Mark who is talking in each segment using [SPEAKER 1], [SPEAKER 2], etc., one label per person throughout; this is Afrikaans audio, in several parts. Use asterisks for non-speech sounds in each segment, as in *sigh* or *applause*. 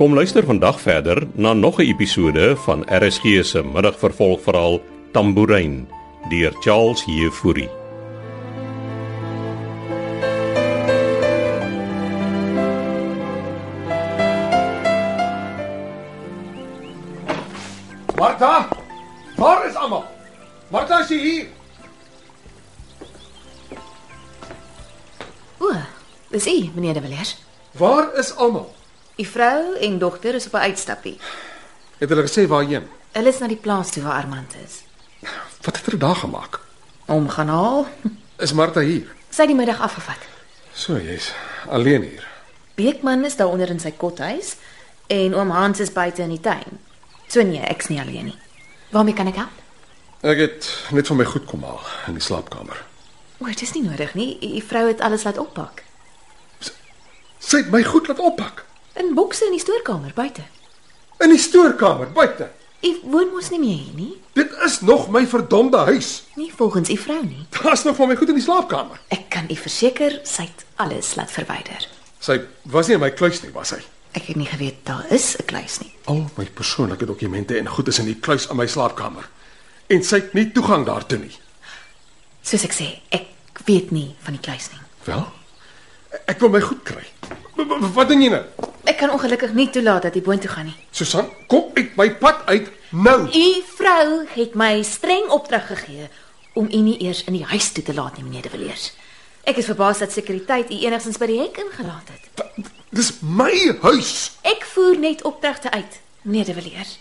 [SPEAKER 1] Kom luister vandag verder na nog 'n episode van RSG se middagvervolgverhaal Tambourine deur Charles Jefouri.
[SPEAKER 2] Martha, waar is almal? Martha, is jy hier?
[SPEAKER 3] O, dis u, meneer De Villiers.
[SPEAKER 2] Waar is almal?
[SPEAKER 3] U vrou en dogter is op 'n uitstappie.
[SPEAKER 2] Het hulle gesê waarheen?
[SPEAKER 3] Hulle is na die plaas toe waar Armand is.
[SPEAKER 2] Wat het hulle daar gemaak?
[SPEAKER 3] Hom gaan haal.
[SPEAKER 2] Is Martha hier?
[SPEAKER 3] Sy het die middag afgevat.
[SPEAKER 2] So jy's alleen hier.
[SPEAKER 3] Beekman is daaronder in sy kothuis en oom Hans is buite in die tuin. So nee, ek's nie alleen nie. Waarmee kan ek help?
[SPEAKER 2] Ek het net van my goed kom haal in die slaapkamer.
[SPEAKER 3] O, dit is nie nodig nie. U- U vrou het alles laat oppak.
[SPEAKER 2] Sy het my goed laat oppak
[SPEAKER 3] In bokse in die stoorkamer buite.
[SPEAKER 2] in die stoorkamer buite.
[SPEAKER 3] U woon mos nie meer hier nie.
[SPEAKER 2] Dit is nog my verdomde huis.
[SPEAKER 3] Nie volgens u vrou nie.
[SPEAKER 2] Daar's nog van my goed in die slaapkamer.
[SPEAKER 3] Ek kan u verseker sy het alles laat verwyder.
[SPEAKER 2] Sy was nie in my kluis nie, was sy?
[SPEAKER 3] Ek het nie geweet daar is 'n kluis nie.
[SPEAKER 2] Al my persoonlike dokumente en goed is in die kluis in my slaapkamer. En sy het nie toegang daartoe nie.
[SPEAKER 3] Soos ek sê, ek weet nie van die kluis nie.
[SPEAKER 2] Wel? Ek wil my goed kry. W- w- Wat doen jy nou?
[SPEAKER 3] Ek kan ongelukkig nie toelaat dat hy boontoe gaan nie.
[SPEAKER 2] Susan, kom uit my pad uit nou.
[SPEAKER 3] U vrou het my streng opdrag gegee om u nie eers in die huis toe te laat nie, meneer De Villiers. Ek is verbaas dat sekuriteit u enigstens by die hek ingelaat het.
[SPEAKER 2] D- Dis my huis.
[SPEAKER 3] Ek voer net opdragte uit, meneer De Villiers.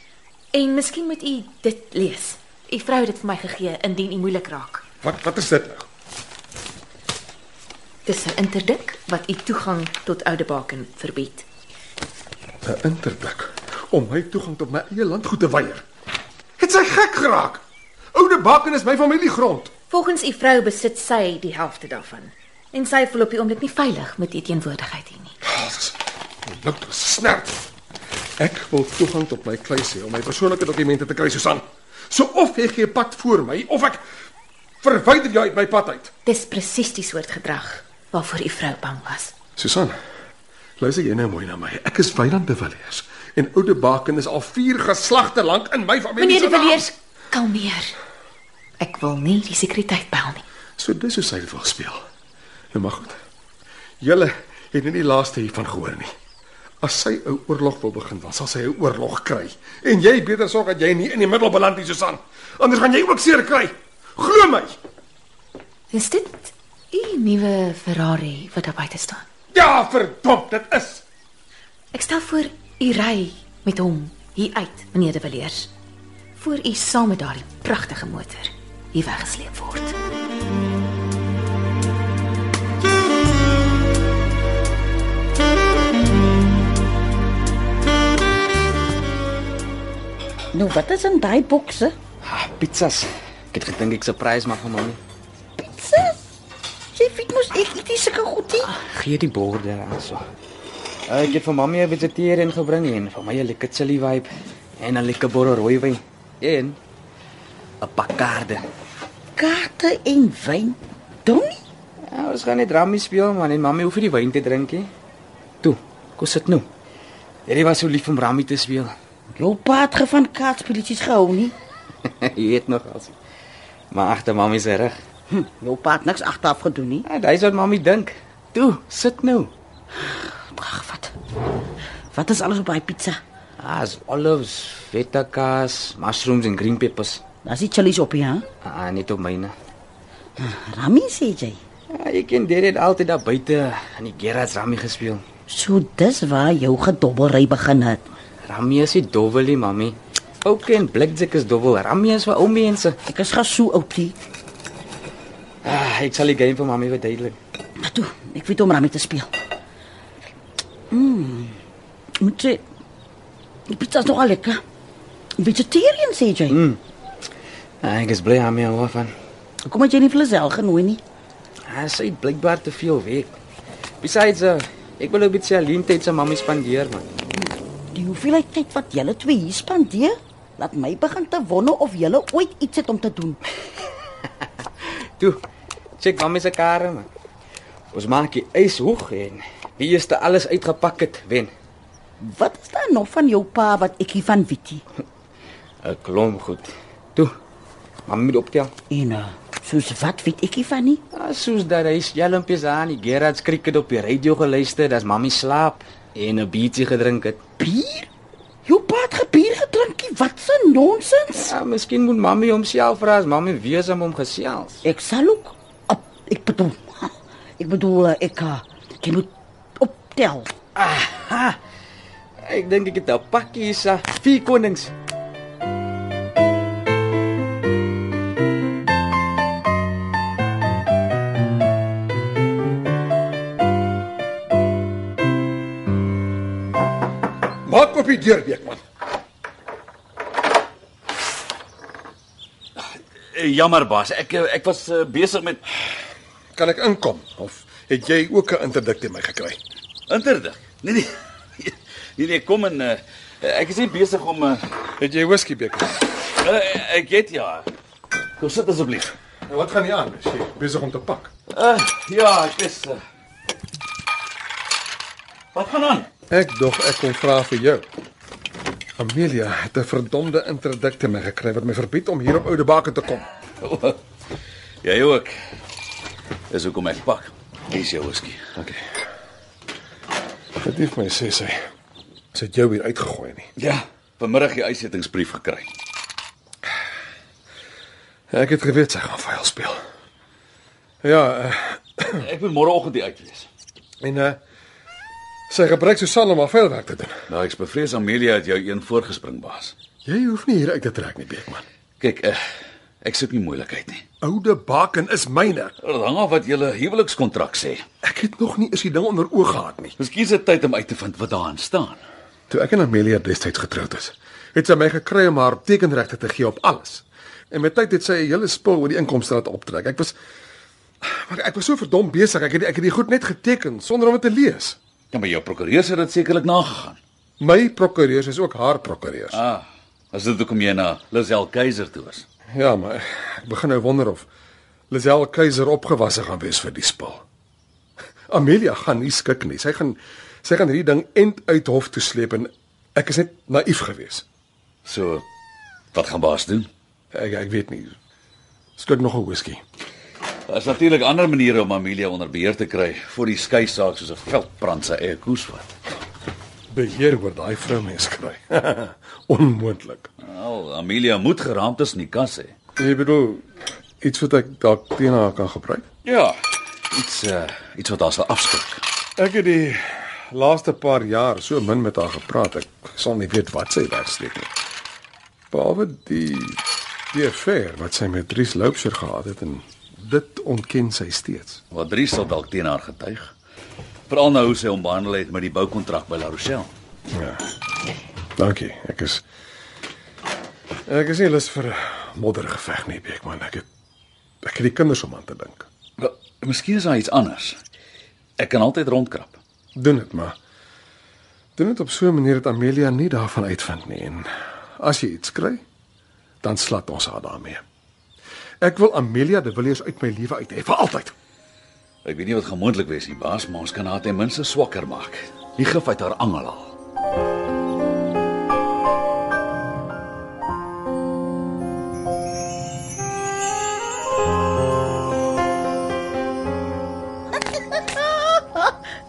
[SPEAKER 3] En miskien moet u dit lees. U vrou het dit vir my gegee indien u moeilik raak.
[SPEAKER 2] Wat wat is dit nou?
[SPEAKER 3] Dis 'n interdik wat u toegang tot Oude Baken verbied.
[SPEAKER 2] 'n Interdik om my toegang tot my eie landgoed te weier. Het sy gek geraak? Oude Bakken is my familiegrond.
[SPEAKER 3] Volgens u vrou besit sy die helfte daarvan en sy voel op die oomblik nie veilig met u teenwoordigheid hier nie.
[SPEAKER 2] Oh, dis loop dit snert. Ek wil toegang tot my kluis hê om my persoonlike dokumente te kry, Susan. So of jy gee pad voor my of ek verwyder jou uit my pad uit.
[SPEAKER 3] Dis presies die soort gedrag waarvoor u vrou bang was.
[SPEAKER 2] Susan, luister jy nou mooi na my. Ek is Weyland de Villiers en Oude Baken is al vier geslagte lank in my familie.
[SPEAKER 3] Meneer De
[SPEAKER 2] se naam.
[SPEAKER 3] Villiers, kalmeer. Ek wil nie die sekuriteit bel nie.
[SPEAKER 2] So dis hoe sy dit wil speel. Nou maar goed. Julle het nou nie die laaste hiervan gehoor nie. As sy 'n oorlog wil begin, dan sal sy 'n oorlog kry. En jy beter sorg dat jy nie in die middel beland nie, Susan. Anders gaan jy ook seer kry. Glo my.
[SPEAKER 3] Is dit u nuwe Ferrari wat daar buite staan?
[SPEAKER 2] Ja, verdomp, dit is.
[SPEAKER 3] Ek stel voor u ry met hom hier uit, meneer De Villiers, voor u saam met daardie pragtige motor hier weggesleep word.
[SPEAKER 4] Nou, wat is in daai bokse?
[SPEAKER 5] Ah, pizzas. Ek het gedink ek surprise mag hom nie.
[SPEAKER 4] Pizzas. Jy weet mos ek eet nie sulke goedie.
[SPEAKER 5] Gee die borde aan so. Ek het vir mamma 'n vegetarian gebring en vir my 'n lekker chili vibe en 'n lekker borrel rooiwyn en 'n pakkaarde.
[SPEAKER 4] Kaarte en wyn. Donnie,
[SPEAKER 5] Ja, ons gaan net rammie speel man en mamma hoef nie die wyn te drink nie. Toe, kom sit nou. Hierdie was so lief om rammie te speel. *laughs*
[SPEAKER 4] jou pa het ge van kaartspelletjies gehou nie.
[SPEAKER 5] Jy weet nog as. Maar agter mamma se rug.
[SPEAKER 4] Hm, jou pa het niks agteraf gedoen nie.
[SPEAKER 5] Ja, dis wat mamma dink. Toe, sit nou.
[SPEAKER 4] Ag, wat. Wat is alles op daai pizza?
[SPEAKER 5] Ah, is olives, feta kaas, mushrooms en green peppers.
[SPEAKER 4] Daar's die chilies op hier, hè?
[SPEAKER 5] Ah, net op myne.
[SPEAKER 4] Rami sê jy.
[SPEAKER 5] Ja, ek ken dit het altyd daar buite in die garage Rami gespeel.
[SPEAKER 4] So dis waar jou gedobbelry begin het.
[SPEAKER 5] Rami is die dowwelie, mami. Ook en Blackjack is dowwel. Rami is vir ou mense.
[SPEAKER 4] Ek is gaso oudie.
[SPEAKER 5] Ah, ek sal die game vir mami verduidelik.
[SPEAKER 4] Maar toe, ek weet om Rami te speel. Mm. Moet jy Die pizza is nogal lekker. Vegetarian sê jy. Mm.
[SPEAKER 5] Ah, ek is bly Rami hou van.
[SPEAKER 4] Kom maar jy nie vir Lisel genooi nie.
[SPEAKER 5] Ah, sy het blykbaar te veel werk. Besides, uh, ek wil 'n bietjie alleen tyd saam mami spandeer, man.
[SPEAKER 4] Die hoeveelheid tyd wat julle twee hier spandeer, laat my begin te wonder of julle ooit iets het om te doen.
[SPEAKER 5] Toe, check mami se kar, man. Ons maak die ys hoog en wie eerste alles uitgepak het, wen.
[SPEAKER 4] Wat is daar nog van jou pa wat ek hiervan weet nie?
[SPEAKER 5] 'n Klomp goed. Toe. Mami moet optel.
[SPEAKER 4] En uh, soos wat weet ek hiervan nie?
[SPEAKER 5] Ah, soos dat hy skelmpies aan die Gerards cricket op die radio geluister, dat mami slaap en 'n biertjie gedrink het.
[SPEAKER 4] Bier? Jou pa het gebier gedrinkie. Wat 'n nonsens.
[SPEAKER 5] Ja, miskien moet mami homself vra as mami weer saam hom gesels.
[SPEAKER 4] Ek sal ook op, ek bedoel *laughs* ek bedoel eh, ek uh, jy moet optel.
[SPEAKER 5] Aha. Ek dink ek het 'n pakkie se vier konings.
[SPEAKER 2] Maak op die deur, Beekman.
[SPEAKER 6] Eh, Jammer baas, ek ek was eh, besig met
[SPEAKER 2] Kan ek inkom of het jy ook 'n interdikt in my gekry?
[SPEAKER 6] interdig. Nee nee. *laughs* Nee nee, kom en eh, ek is nie besig om eh,
[SPEAKER 2] Het jy whisky, Beekman?
[SPEAKER 6] eh, ek het ja. Kom sit asseblief.
[SPEAKER 2] Nou wat gaan nie aan? Is jy besig om te pak?
[SPEAKER 6] Uh, ja, ek is eh. Wat gaan aan?
[SPEAKER 2] Ek dog ek kom vra vir jou. Amelia het 'n verdomde interdikt in my gekry wat my verbied om hier op Oude Baken te kom.
[SPEAKER 6] Jy ook. Dis hoekom ek pak. Dis jou whisky.
[SPEAKER 2] Dankie. Verdief my sê sy. Sy het jou hier uitgegooi nie.
[SPEAKER 6] Ja, vanmiddag die uitsettingsbrief gekry.
[SPEAKER 2] Ek het geweet sy gaan vuil speel. Ja, eh,
[SPEAKER 6] Ek moet môreoggend die uit wees.
[SPEAKER 2] en eh sy gebruik Susan om haar vuilwerk te doen.
[SPEAKER 6] Nou ek's bevrees Amelia het jou een voorgespring baas.
[SPEAKER 2] Jy hoef nie hier uit te trek nie, Beekman.
[SPEAKER 6] Kyk, uh, ek soek nie moeilikheid nie.
[SPEAKER 2] Oude Baken is myne.
[SPEAKER 6] Nou, Dit hang af wat julle huwelikskontrak sê.
[SPEAKER 2] Ek het nog nie eens die ding onder oog gehad nie.
[SPEAKER 6] Miskien is dit tyd om uit te vind wat daarin staan.
[SPEAKER 2] Toe ek en Amelia destyds getroud is, het sy my gekry om haar tekenregte te gee op alles. En met tyd het sy 'n hele spul oor die inkomste laat optrek. Ek was maar ek was so verdom besig. Ek het die- ek het die goed net geteken sonder om dit te lees.
[SPEAKER 6] Ja, maar jou prokureurs het dit sekerlik nagegaan.
[SPEAKER 2] My prokureurs is ook haar prokureurs.
[SPEAKER 6] Ah, as dit hoekom jy na Lisel Keiser toe is.
[SPEAKER 2] Ja, maar ek begin nou wonder of Lisel Keiser opgewasse gaan wees vir die spul. Amelia gaan nie skik nie. Sy gaan sy gaan hierdie ding end uit hof toe sleep en ek is net naïef geweest.
[SPEAKER 6] So wat gaan baas doen?
[SPEAKER 2] Ek ek weet nie. Skrik nog 'n whisky.
[SPEAKER 6] Daar's natuurlik ander maniere om Amelia onder beheer te kry voor die skei saak soos 'n veldbrand sy eie koers vat.
[SPEAKER 2] beheer oor daai vroumens kry. *laughs* Onmoontlik.
[SPEAKER 6] Al, Amelia moet geraamtes in die kas hê.
[SPEAKER 2] Jy bedoel iets wat ek dalk teen haar kan gebruik?
[SPEAKER 6] Ja, iets uh, iets wat haar sal afskrik.
[SPEAKER 2] Ek het die laaste paar jaar so min met haar gepraat. Ek sal nie weet wat sy wegsteek nie. Behalwe die die affair wat sy met Dries Loupsher gehad het en dit ontken sy steeds.
[SPEAKER 6] Wat Dries sal dalk teen haar getuig. Veral nou hoe sy hom behandel het met die boukontrak by La Rochelle.
[SPEAKER 2] Ja. Dankie. Ek is Ek is nie lus vir 'n moddergeveg nie, Beekman. Ek het ek het die kinders om aan te dink.
[SPEAKER 6] Wel, miskien is daar iets anders. Ek kan altyd rondkrap.
[SPEAKER 2] Doen dit maar. Doen dit op so 'n manier dat Amelia nie daarvan uitvind nie en as jy iets kry, dan slat ons haar daarmee. Ek wil Amelia de Villiers uit my lewe uithê vir altyd.
[SPEAKER 6] Ek weet nie wat gemoontlik wees nie, baas, maar ons kan haar ten minste swakker maak. Die gif uit haar angel haal.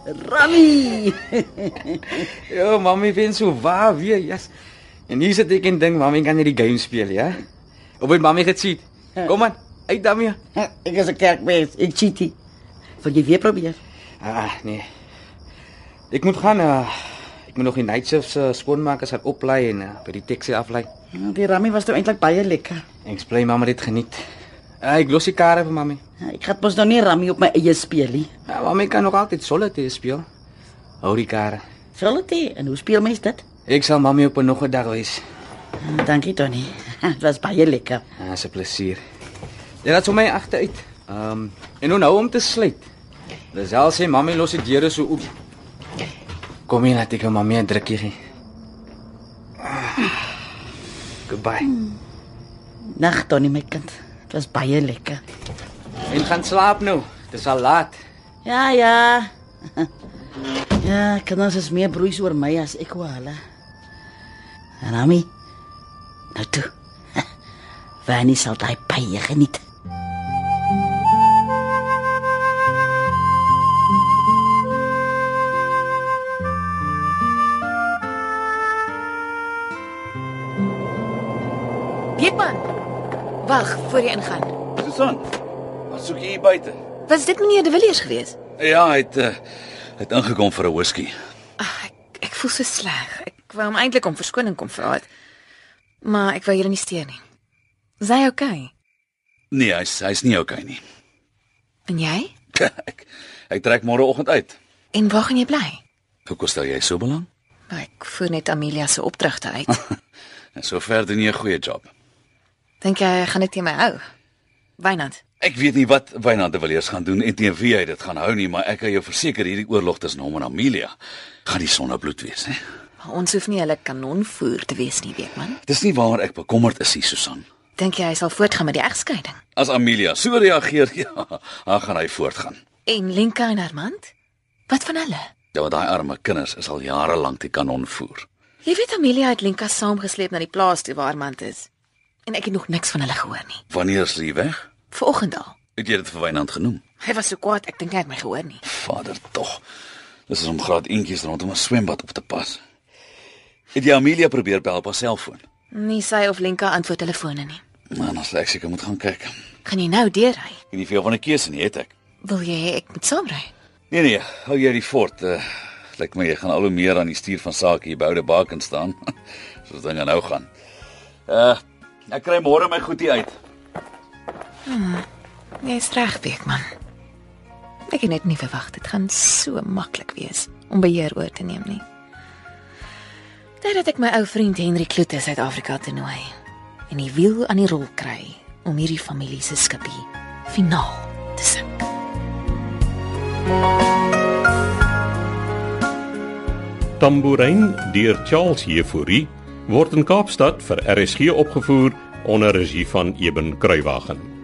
[SPEAKER 4] Rami.
[SPEAKER 5] Ja, mami vind so waar weer. Yes. En hier sit ek en dink mami kan hierdie game speel, ja. Of het mami gecheat? Kom aan, uit daarmee.
[SPEAKER 4] *laughs* ek is 'n kerkmens. Ek cheat nie. Wil jy weer probeer?
[SPEAKER 5] Ah, nee. Ek moet gaan. Uh, ek moet nog die night shift se uh, skoonmakers gaan oplei en uh, by die taxi aflei.
[SPEAKER 4] Ja, Die Rami was toe eintlik baie lekker.
[SPEAKER 5] En ek sê mamma dit geniet. Uh, ek los die kar vir mami.
[SPEAKER 4] Ja, Ek het mos nou nie Rami op my eie speel nie.
[SPEAKER 5] Uh, mami kan nog altyd solitaire speel. Hou die kar.
[SPEAKER 4] Sal dit? nie? En hoe speel mens dit?
[SPEAKER 5] Ek sal mami op 'n nog 'n dag wys.
[SPEAKER 4] Ah, Dankie Tony. *laughs* Dit was baie lekker.
[SPEAKER 5] Ah, dis 'n plesier. Jy laat hom my agteruit. Ehm um, en nou nou om te sluit. Dis al sê mami los die deure so oop. Kom hier laat ek jou mami 'n drukkie gee. Ah, Goodbye.
[SPEAKER 4] Nag Tony my kind. Dit was baie lekker.
[SPEAKER 5] En gaan slaap nou. Dis al laat.
[SPEAKER 4] Ja ja. *laughs* Ja, kinders is meer broeis oor my as ek oor hulle. En Ami, nou toe. *laughs* Wanneer sal daai pye geniet?
[SPEAKER 3] Beekman. Wag voor jy ingaan.
[SPEAKER 6] Susan, wat soek jy hier buite?
[SPEAKER 3] Was dit meneer De Villiers geweest?
[SPEAKER 6] Ja, hy het eh, hy het ingekom vir 'n whisky.
[SPEAKER 3] Ag, Ah, ek ek voel so sleg. Ek wou hom eintlik om verskoning kom vra het. Maar ek wou julle nie steur nie. Is hy okay?
[SPEAKER 6] Nee, hy's hy's nie okay nie. *laughs*
[SPEAKER 3] En jy?
[SPEAKER 6] ek ek trek môreoggend uit.
[SPEAKER 3] En waar gaan jy bly?
[SPEAKER 6] Hoekom stel jy so belang?
[SPEAKER 3] Nou, ek voer net Amelia se opdragte uit.
[SPEAKER 6] En sover doen jy 'n goeie job.
[SPEAKER 3] Dink jy hy gaan dit teen my hou? Wynand.
[SPEAKER 6] Ek weet nie wat Wynand de Villiers gaan doen en teen wie hy dit gaan hou nie, maar ek kan jou verseker hierdie oorlog tussen hom en Amelia gaan die sonnebloed wees, hè.
[SPEAKER 3] Maar Ons hoef nie hulle kanonvoer te wees nie, Beekman.
[SPEAKER 6] Dis nie waar ek bekommerd is nie, Susan.
[SPEAKER 3] Dink jy hy sal voortgaan met die egskeiding?
[SPEAKER 6] As Amelia so reageer, *laughs* ja, dan gaan hy voortgaan.
[SPEAKER 3] En Lenka en Armand? Wat van hulle?
[SPEAKER 6] Ja, want daai arme kinders is al jare lank die kanon voer.
[SPEAKER 3] Jy weet Amelia het Lenka saamgesleep na die plaas toe waar Armand is. En ek het nog niks van hulle gehoor nie.
[SPEAKER 6] Wanneer is hy weg?
[SPEAKER 3] Vanoggend al.
[SPEAKER 6] Het jy dit vir Wynand genoem?
[SPEAKER 3] Hy was so kwaad, ek dink hy het my gehoor nie.
[SPEAKER 6] Vader tog. Dis is om graad eentjies rondom 'n swembad op te pas. Het jy Amelia probeer bel op haar selfoon?
[SPEAKER 3] Nie sy of Lenka antwoord telefone nie.
[SPEAKER 6] Man, dan sal ek seker moet gaan kyk. Ek
[SPEAKER 3] Gaan jy nou deurry?
[SPEAKER 6] het nie veel van 'n keuse nie, het ek.
[SPEAKER 3] Wil jy hê ek moet saamry?
[SPEAKER 6] Nee nee, hou jy die fort. Uh, Lyk my jy gaan al hoe meer aan die stuur van sake hier by Oude Baken staan. *laughs* Soos dinge nou gaan. Uh, ek kry môre my goedie uit.
[SPEAKER 3] Jy's reg, Beekman. Ek het net nie verwag dit gaan so maklik wees om beheer oor te neem nie. Dit het ek my ou vriend Henry Kloete uit Afrika toe nooi en die wiel aan die rol kry om hierdie familie se skippie finaal te sink.
[SPEAKER 1] Tambourine deur Charles Jefouri word in Kaapstad vir RSG opgevoer onder regie van Eben Kruiwagen.